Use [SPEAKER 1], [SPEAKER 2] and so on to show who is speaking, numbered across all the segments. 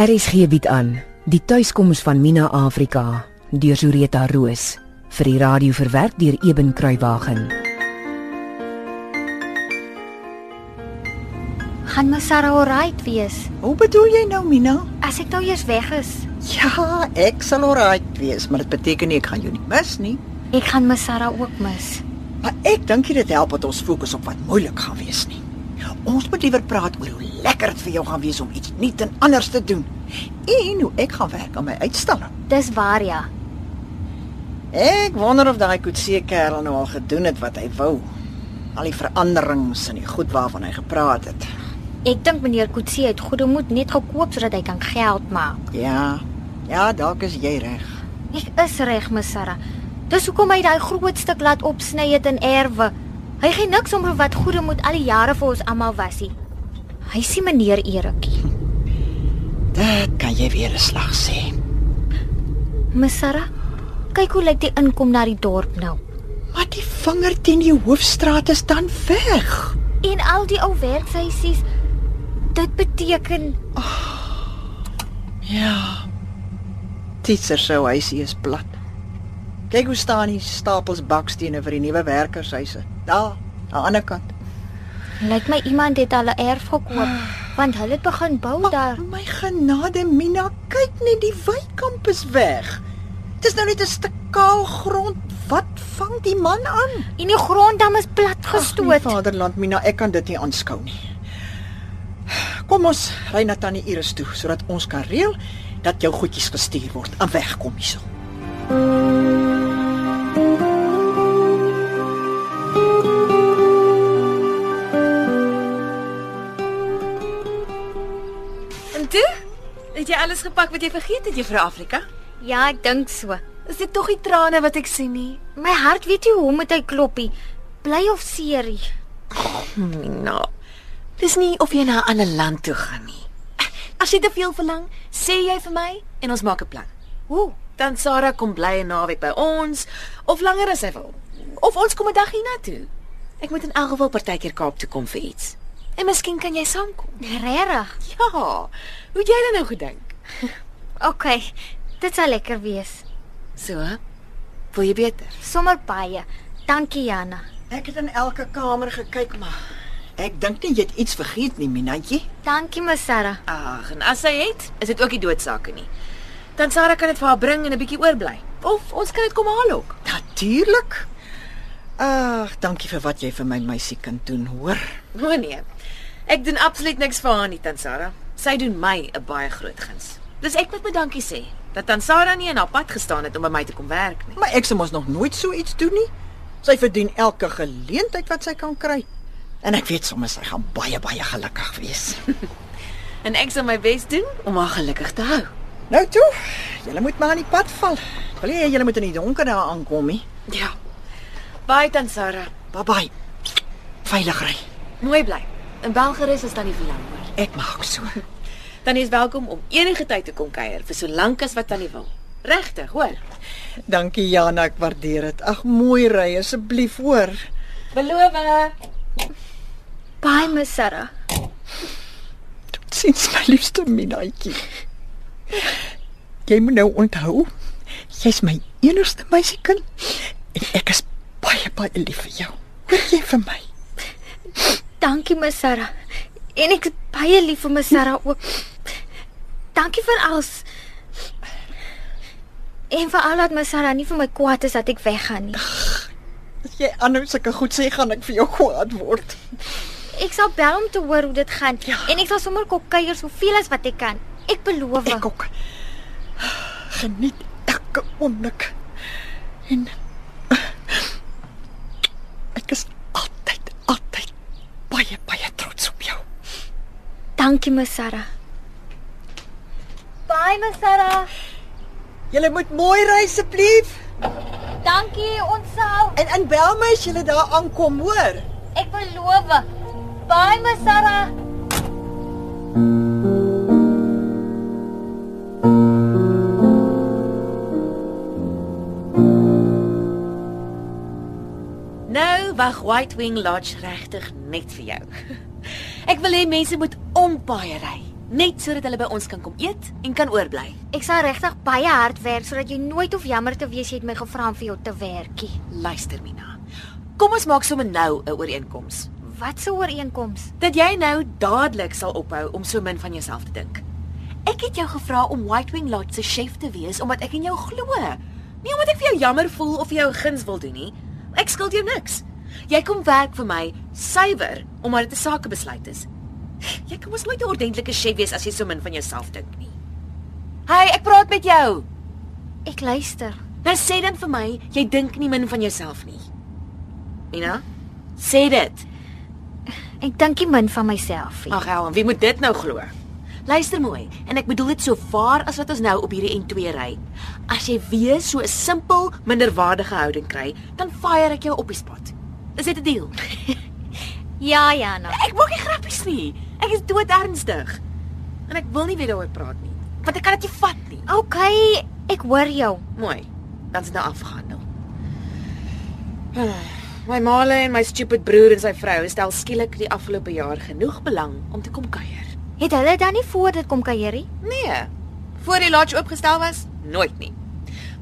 [SPEAKER 1] RSG bied aan die tuiskoms van Mina Afrika deur Zureta Roos vir die radio verwerk deur Eben Kruiwagen.
[SPEAKER 2] Gaan my Sarah alright wees?
[SPEAKER 3] Hoe bedoel jy nou, Mina?
[SPEAKER 2] As ek nou eers weg is,
[SPEAKER 3] Ja, ek sal alright wees, maar dit beteken nie ek gaan jou nie mis nie.
[SPEAKER 2] ek gaan my Sarah ook mis.
[SPEAKER 3] Maar ek dink nie dit help dat ons fokus op wat moeilik gaan wees nie. Ons moet liewer praat oor hoe lekker dit vir jou gaan wees om iets nuut en anders te doen en hoe ek gaan werk aan my uitstalling.
[SPEAKER 2] Dis waar ja.
[SPEAKER 3] Ek wonder of daai koetsie kerel nou al gedoen het wat hy wou. Al die veranderings en die goed waarvan hy gepraat het.
[SPEAKER 2] Ek dink meneer Kutsie het goeie moed net gekoop sodat hy kan geld maak.
[SPEAKER 3] Ja. Ja, dalk is jy reg.
[SPEAKER 2] Ek is reg, my Sarah. Dis hoekom hy daai groot stuk laat opsny het in erwe. Hy gee niks om wat goeie moed al die jare vir ons almal was nie. Hy sien meneer Erikie.
[SPEAKER 3] Dit kan jy weer 'n slag sê.
[SPEAKER 2] My Sarah, kyk hoe lyk die inkom na die dorp nou.
[SPEAKER 3] Maar die vinger teen die hoofstraat is dan weg.
[SPEAKER 2] En al die ou werkshuisies. Dit beteken
[SPEAKER 3] Ja. Titser sou hy sien is plat. Kyk hoe staan die stapels bakstene vir die nuwe werkershuise. Daar, aan die ander kant.
[SPEAKER 2] Lyk my iemand het hulle erf gekoop
[SPEAKER 4] Ah.
[SPEAKER 2] want hulle het begin bou daar.
[SPEAKER 3] Oh, my genade Mina, kyk net die wykamp is weg. Dis nou net 'n stuk kaal grond. Wat vang die man aan?
[SPEAKER 2] En die gronddam is plat
[SPEAKER 3] Ag,
[SPEAKER 2] gestoot.
[SPEAKER 3] nee, Vaderland Mina, ek kan dit nie aanskou nie. Kom ons ry na tannie Iris toe sodat ons kan reël dat jou goedjies gestuur word en wegkom hierso.
[SPEAKER 4] En toe? Het jy alles gepak wat jy vergeet het, Juffrou Afrika?
[SPEAKER 2] ja, ek dink so.
[SPEAKER 4] Is dit tog die trane wat ek sien nie?
[SPEAKER 2] My hart weet nie hoe moet hy kloppie. Bly of seerie.
[SPEAKER 4] Nou. Dis nie of jy na 'n ander land toe gaan nie. As jy te veel verlang, sê jy vir my en ons maak 'n plan.
[SPEAKER 2] Hoe?
[SPEAKER 4] Dan Sarah kom bly 'n naweek by ons of langer as sy wil. Of ons kom 'n dag hiernatoe. Ek moet in elk geval partykeer Kaap toe kom vir iets. En miskien kan jy saamkom.
[SPEAKER 2] Regtig?
[SPEAKER 4] Ja. Hoe het jy dit nou gedink?
[SPEAKER 2] OK. Dit sal lekker wees.
[SPEAKER 4] So, hè? wil jy beter?
[SPEAKER 2] Sommer baie. Dankie Jana.
[SPEAKER 3] Ek het in elke kamer gekyk, maar ek dink nie jy het iets vergeet nie, Minantjie.
[SPEAKER 2] Dankie my Sarah.
[SPEAKER 4] Ag, en as sy het, is dit ook nie doodsaake nie. Dan Sarah kan dit vir haar bring en 'n bietjie oorbly. Of ons kan dit kom haal ook.
[SPEAKER 3] Natuurlik. Ag, dankie vir wat jy vir my meisiekind doen, hoor.
[SPEAKER 4] O nee. Ek doen absoluut niks vir haar nie, Tant Sarah. Sy doen my 'n baie groot guns. Dis ek wat my dankie sê dat Tant Sarah nie in haar pad gestaan het om by my te kom werk nie.
[SPEAKER 3] Maar ek se mos nog nooit so iets doen nie. Sy verdien elke geleentheid wat sy kan kry. En ek weet soms sy gaan baie baie gelukkig wees.
[SPEAKER 4] En ek sal my bes doen om haar gelukkig te hou.
[SPEAKER 3] Nou toe, julle moet maar aan die pad val. Ek Wil jy julle moet in die donker daar aankom nie?
[SPEAKER 4] Ja. Baie Tant Sarah.
[SPEAKER 3] Bye bye. Veilig ry.
[SPEAKER 4] Mooi bly. En bel gerus as tannie verlang hoor.
[SPEAKER 3] Ek maak so.
[SPEAKER 4] Tannie is welkom om enige tyd te kom kuier vir so lank as wat tannie wil. Regtig, hoor.
[SPEAKER 3] Dankie Jana, ek waardeer dit. Ag, mooi ry asseblief, hoor.
[SPEAKER 4] Beloof. eh,
[SPEAKER 2] Bye my Sarah.
[SPEAKER 3] Sins my liefste Minaatjie. Jy moet nou onthou, jy's my enigste meisiekind en ek is baie baie lief vir jou. Hoor jy vir my?
[SPEAKER 2] Dankie my Sarah. En ek is baie lief vir my Sarah ook. Dankie vir alles. En vir al dat my Sarah nie vir my kwaad is dat ek weggaan nie.
[SPEAKER 3] As jy aanhou sulke goed sê, gaan ek vir jou kwaad word.
[SPEAKER 2] Ek sal bel om te hoor hoe dit gaan
[SPEAKER 3] Ja.
[SPEAKER 2] en ek sal sommer kom kuier soveel as wat ek kan. Ek beloof.
[SPEAKER 3] Ek ook. Geniet elke oomblik. En eh, ek is altyd altyd baie baie trots op jou.
[SPEAKER 2] Dankie my Sarah. Bye my Sarah.
[SPEAKER 3] Julle moet mooi ry asseblief
[SPEAKER 2] Dankie ons sal.
[SPEAKER 3] en inbel my as julle daar aankom, hoor.
[SPEAKER 2] Ek beloof. Bye my Sarah.
[SPEAKER 4] Nou wag White Wing Lodge regtig net vir jou. Ek wil hê mense moet ompaai ry net sodat hulle by ons kan kom eet en kan oorbly.
[SPEAKER 2] Ek sal regtig baie hard werk sodat jy nooit hoef jammer te wees jy het my gevra om vir jou te werkie.
[SPEAKER 4] Luister Mina. Kom ons maak sommer nou 'n ooreenkoms.
[SPEAKER 2] Wat 'n ooreenkoms.
[SPEAKER 4] dat jy nou dadelik sal ophou om so min van jouself te dink. Ek het jou gevra om White Wing Lodge se chef te wees omdat ek in jou glo. Nie omdat ek vir jou jammer voel of jou guns wil doen nie. Ek skuld jou niks. Jy kom werk vir my suiwer omdat dit 'n sakebesluit is. Jy kan mos nooit 'n ordentlike chef wees as jy so min van jouself dink nie. Hey, ek praat met jou.
[SPEAKER 2] Ek luister.
[SPEAKER 4] Nou sê dan vir my, jy dink nie min van jouself nie. Mina, sê dit.
[SPEAKER 2] Ek dink nie min van myself nie.
[SPEAKER 4] Ag Helen, wie moet dit nou glo? Luister mooi, en ek bedoel dit so vaar as wat ons nou op hierdie N2 ry. As jy weer so 'n simpel minderwaardige houding kry, dan fire ek jou op die spot. Is dit 'n deal?
[SPEAKER 2] Ja, Jana.
[SPEAKER 4] Ek maak nie grappies nie. Ek is dood ernstig. En ek wil nie weer daaroor praat nie, want ek kan dit nie vat nie.
[SPEAKER 2] OK, ek hoor jou.
[SPEAKER 4] Mooi. Dan is dit nou afgehandel. My maale en my stupid broer en sy vrou stel skielik die afgelope jaar genoeg belang om te kom kuier.
[SPEAKER 2] Het hulle dan nie voor dit kom kuierie?
[SPEAKER 4] Nee. Voor die lodge oopgestel was, nooit nie.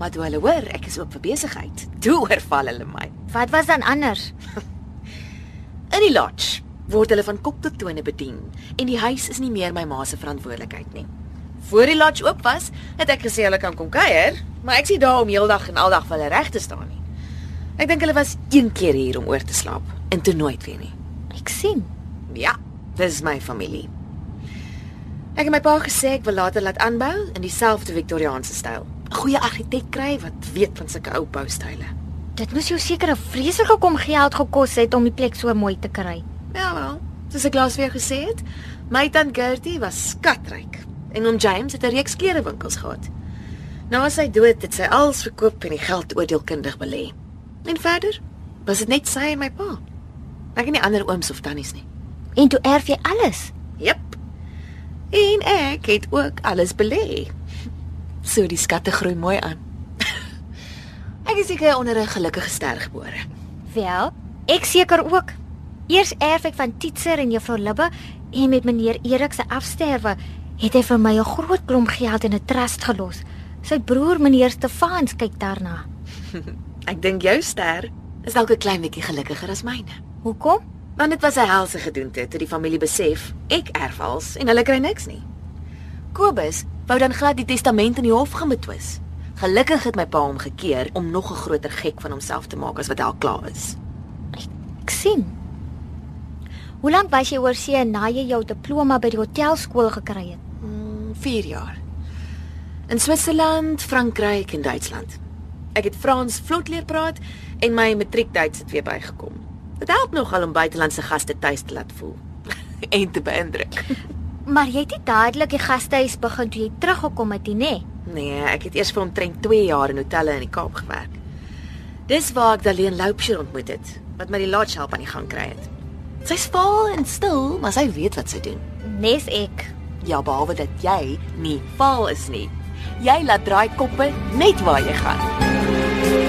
[SPEAKER 4] Maar toe hulle hoor ek is oop vir besigheid, toe oorval hulle my.
[SPEAKER 2] Wat was dan anders?
[SPEAKER 4] In die lodge word hulle van kop tot tone bedien en die huis is nie meer my ma se verantwoordelikheid nie. Voor die lodge oop was, het ek gesê hulle kan kom kuier, maar ek sien daar om heeldag en aldag vir hulle reg te staan nie. Ek dink hulle was een keer hier om oor te slaap en toe nooit weer nie.
[SPEAKER 2] Ek sien.
[SPEAKER 4] Ja, dis my familie. Ek het my pa gesê ek wil later laat aanbou in dieselfde Victoriaanse styl. 'n Goeie argitek kry wat weet van sulke ou boustyle.
[SPEAKER 2] Dit moes jou seker 'n vreeslike kom geld gekos het om die plek so mooi te kry.
[SPEAKER 4] Ja wel, soos ek laas weer gesê het, my tant Gertie was skatryk en oom James het 'n reeks klerewinkels gehad. Na sy dood het sy alles verkoop en die geld oordeelkundig belê. En verder was dit net sy en my pa. Ek het nie ander ooms of tannies nie.
[SPEAKER 2] En toe erf jy alles.
[SPEAKER 4] Jep. En ek het ook alles belê. So die skatte groei mooi aan. ek is seker onder 'n gelukkige ster gebore.
[SPEAKER 2] Wel, ek seker ook. Eers erf ek van Titser en Juffrou Libbe en met meneer Erik se afsterwe het hy vir my 'n groot klomp geld in 'n trust gelos. Sy broer meneer Stefans kyk daarna.
[SPEAKER 4] Ek dink jou ster is dalk 'n klein bietjie gelukkiger as myne.
[SPEAKER 2] Hoekom?
[SPEAKER 4] Want dit was 'n helse gedoente toe die familie besef ek erf als en hulle kry niks nie. Kobus wou dan glad die testament in die hof gaan betwis. Gelukkig het my pa hom gekeer om nog 'n groter gek van homself te maak as wat hy al klaar is.
[SPEAKER 2] Ek sien. Hoe lank was jy oor see na jy jou diploma by die hotelskool gekry het?
[SPEAKER 4] Mm, 4 jaar. In Switserland, Frankryk en Duitsland. Ek het Frans vlot leer praat en my matriek Duits het weer bygekom. Dit help nogal om buitelandse gaste tuis te laat voel en te beïndruk.
[SPEAKER 2] Maar jy het nie dadelik die gastehuis begin toe jy teruggekom het nie, nê?
[SPEAKER 4] Nee, ek het eers vir omtrent 2 jaar in hotelle in die Kaap gewerk. Dis waar ek Daleen Loupsher ontmoet het, wat my die lodge help aan die gang kry het. Sy's vaal en stil, maar sy weet wat sy doen.
[SPEAKER 2] Nes ek.
[SPEAKER 4] Ja, behalwe dat jy nie vaal is nie. Jy laat draai koppe net waar jy gaan.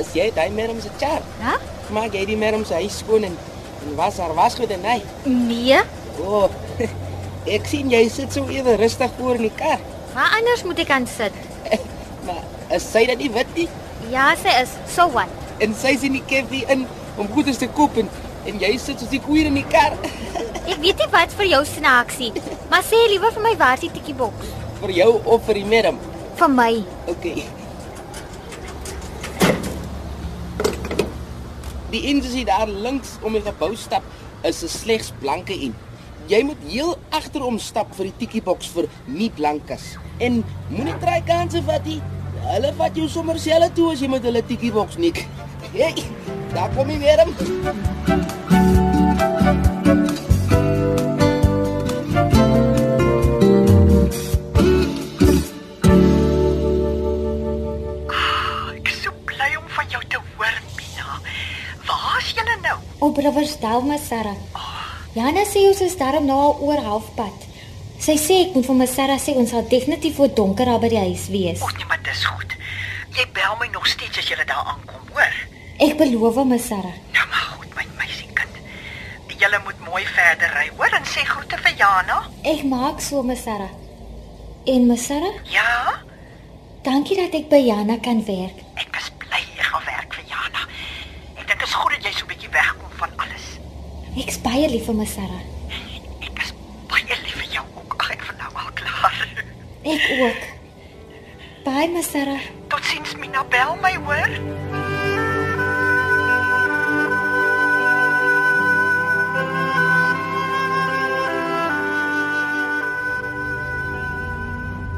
[SPEAKER 5] As jy daai merm se char,
[SPEAKER 2] Hæ?
[SPEAKER 5] maak jy die merm se huis skoon en, en was haar was goed en hy.
[SPEAKER 2] Nee.
[SPEAKER 5] O. Oh, ek sien jy sit so ewe rustig voor in die kar.
[SPEAKER 2] Waar anders moet ek aan sit?
[SPEAKER 5] Maar as sy dit nie weet nie
[SPEAKER 2] Ja, sy is. So wat?
[SPEAKER 5] en sy sien die koffie in om goedes te koop en, en jy sit soos die koeier in die kar.
[SPEAKER 2] Ek weet nie wat vir jou snaaksie, maar sê liewer vir my waar is die tikkie boks?
[SPEAKER 5] vir jou of vir die merm.
[SPEAKER 2] Vir my.
[SPEAKER 5] Okay. Die een wat daar links om die gebou stap is 'n slegs blanke een. Jy moet heel agterom stap vir die tikkie boks vir nie blankes. En moenie try kanse vat nie. Hulle vat jou sommer selfe toe as jy met hulle tikkie boks nik. Hey, daar kom hy weer hom.
[SPEAKER 3] Ek is so bly om van jou te hoor, Mina. Waar's julle nou?
[SPEAKER 2] Op Riversdal, my Sarah. Jana sê ons is daarom nou al oor halfpad. Sy sê ek moet vir my Sarah sê ons sal definitief voor donker daar by die huis wees.
[SPEAKER 3] Ons nee, maar dis goed.
[SPEAKER 6] Jy bel my nog steeds as jy daar aankom, hoor?
[SPEAKER 2] Ek beloof my Sarah.
[SPEAKER 6] Nou maar goed, my meisiekind. Jy moet mooi verder ry, hoor? En sê groete vir Jana.
[SPEAKER 2] Ek maak so my Sarah. En my Sarah,
[SPEAKER 6] Ja,
[SPEAKER 2] dankie dat ek by Jana kan werk.
[SPEAKER 6] ek is bly jy gaan werk vir Jana. En dit is goed dat jy so 'n bietjie wegkom van alles.
[SPEAKER 2] Ek's baie lief vir my Sarah.
[SPEAKER 6] Ek is baie lief vir jou ook. Ag, ek van nou al klaar.
[SPEAKER 2] Ek ook. Bye my Sarah.
[SPEAKER 6] Totsiens, Mina, bel my, hoor?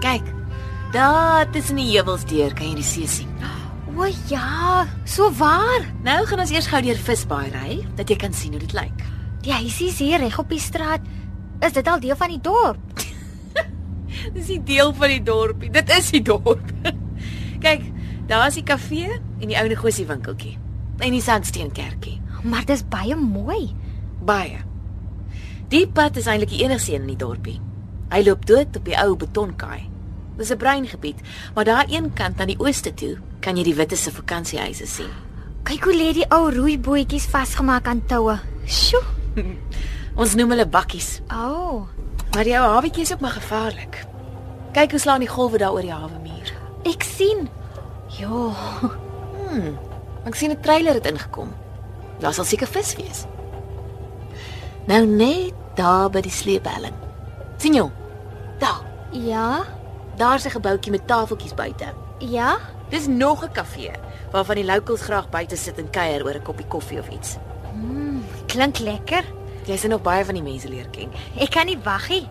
[SPEAKER 4] Kyk. Daar tussen die heuwels deur kan jy die see sien.
[SPEAKER 2] O ja, so waar.
[SPEAKER 4] Nou gaan ons eers gou deur visbaai ry dat jy kan sien hoe dit lyk.
[SPEAKER 2] Die huisie is hier reg op die straat. Is dit al deel van die dorp?
[SPEAKER 4] Dis nie deel van die dorpie. Dit is die dorp. Kyk, daar's die kafee en die ou negosie winkeltjie en die sandsteenkerkie.
[SPEAKER 2] Maar dis baie mooi.
[SPEAKER 4] Baie. Die pad is eintlik die enigste een in die dorpie. Hy loop dood op die ou betonkaai. Dis 'n breingebied, maar daar een kant na die ooste toe kan jy die witte se vakansiehuise sien.
[SPEAKER 2] Kyk hoe lê die ou roeibootjies vasgemaak aan toue. Sjoe.
[SPEAKER 4] Ons noem hulle bakkies,
[SPEAKER 2] Au. Oh,
[SPEAKER 4] maar jou hawetjie is ook maar gevaarlik. Kyk hoe slaan die golwe daar oor die hawe muur.
[SPEAKER 2] ek sien. Jo,
[SPEAKER 4] Ek sien 'n trailer het ingekom. Daar sal seker vis wees. Nou net daar by die sleephelling. sien jy? Daar,
[SPEAKER 2] ja,
[SPEAKER 4] daar's 'n gebouetjie met tafeltjies buite.
[SPEAKER 2] ja.
[SPEAKER 4] Dis nog 'n kafee waarvan die locals graag buite sit en kuier oor 'n koppie koffie of iets.
[SPEAKER 2] Klink lekker.
[SPEAKER 4] Jy sien nog baie van die mense leer ken.
[SPEAKER 2] Ek kan nie wag nie.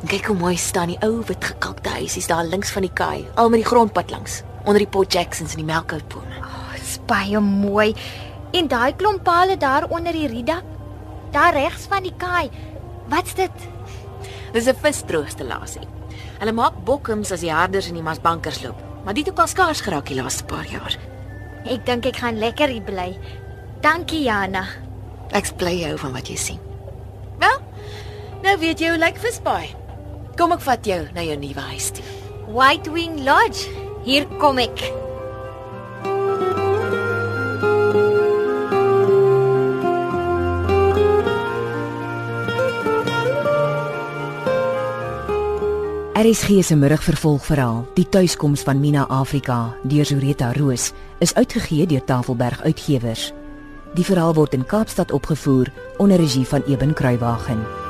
[SPEAKER 4] En kyk hoe mooi staan die ou wit gekalkte huisies daar links van die kaai, al met die grondpad langs, onder die Port Jacksons en die melkhoutbome.
[SPEAKER 2] Dis Oh, baie mooi. En daai klomp pale daar onder die rieda, daar regs van die kaai. Wat's dit?
[SPEAKER 4] Dis 'n visdroogstelasie. Hulle maak bokkums as die herders en die masbankers loop, maar dit het al skaars geraak die laaste paar jaar.
[SPEAKER 2] Ek dink ek gaan lekker hier bly. Dankie Jana.
[SPEAKER 4] Ek's bly jy hou van wat jy sien. Wel, nou weet jy hoe lyk visbaai. Kom ek vat jou na jou nuwe huis toe.
[SPEAKER 2] White Wing Lodge. Hier kom ek.
[SPEAKER 1] RSG se middagvervolgverhaal, Die tuiskoms van Mina Afrika, deur Zureta Roos, is uitgegee deur Tafelberg Uitgewers. Die verhaal word in Kaapstad opgevoer onder regie van Eben Kruiwagen.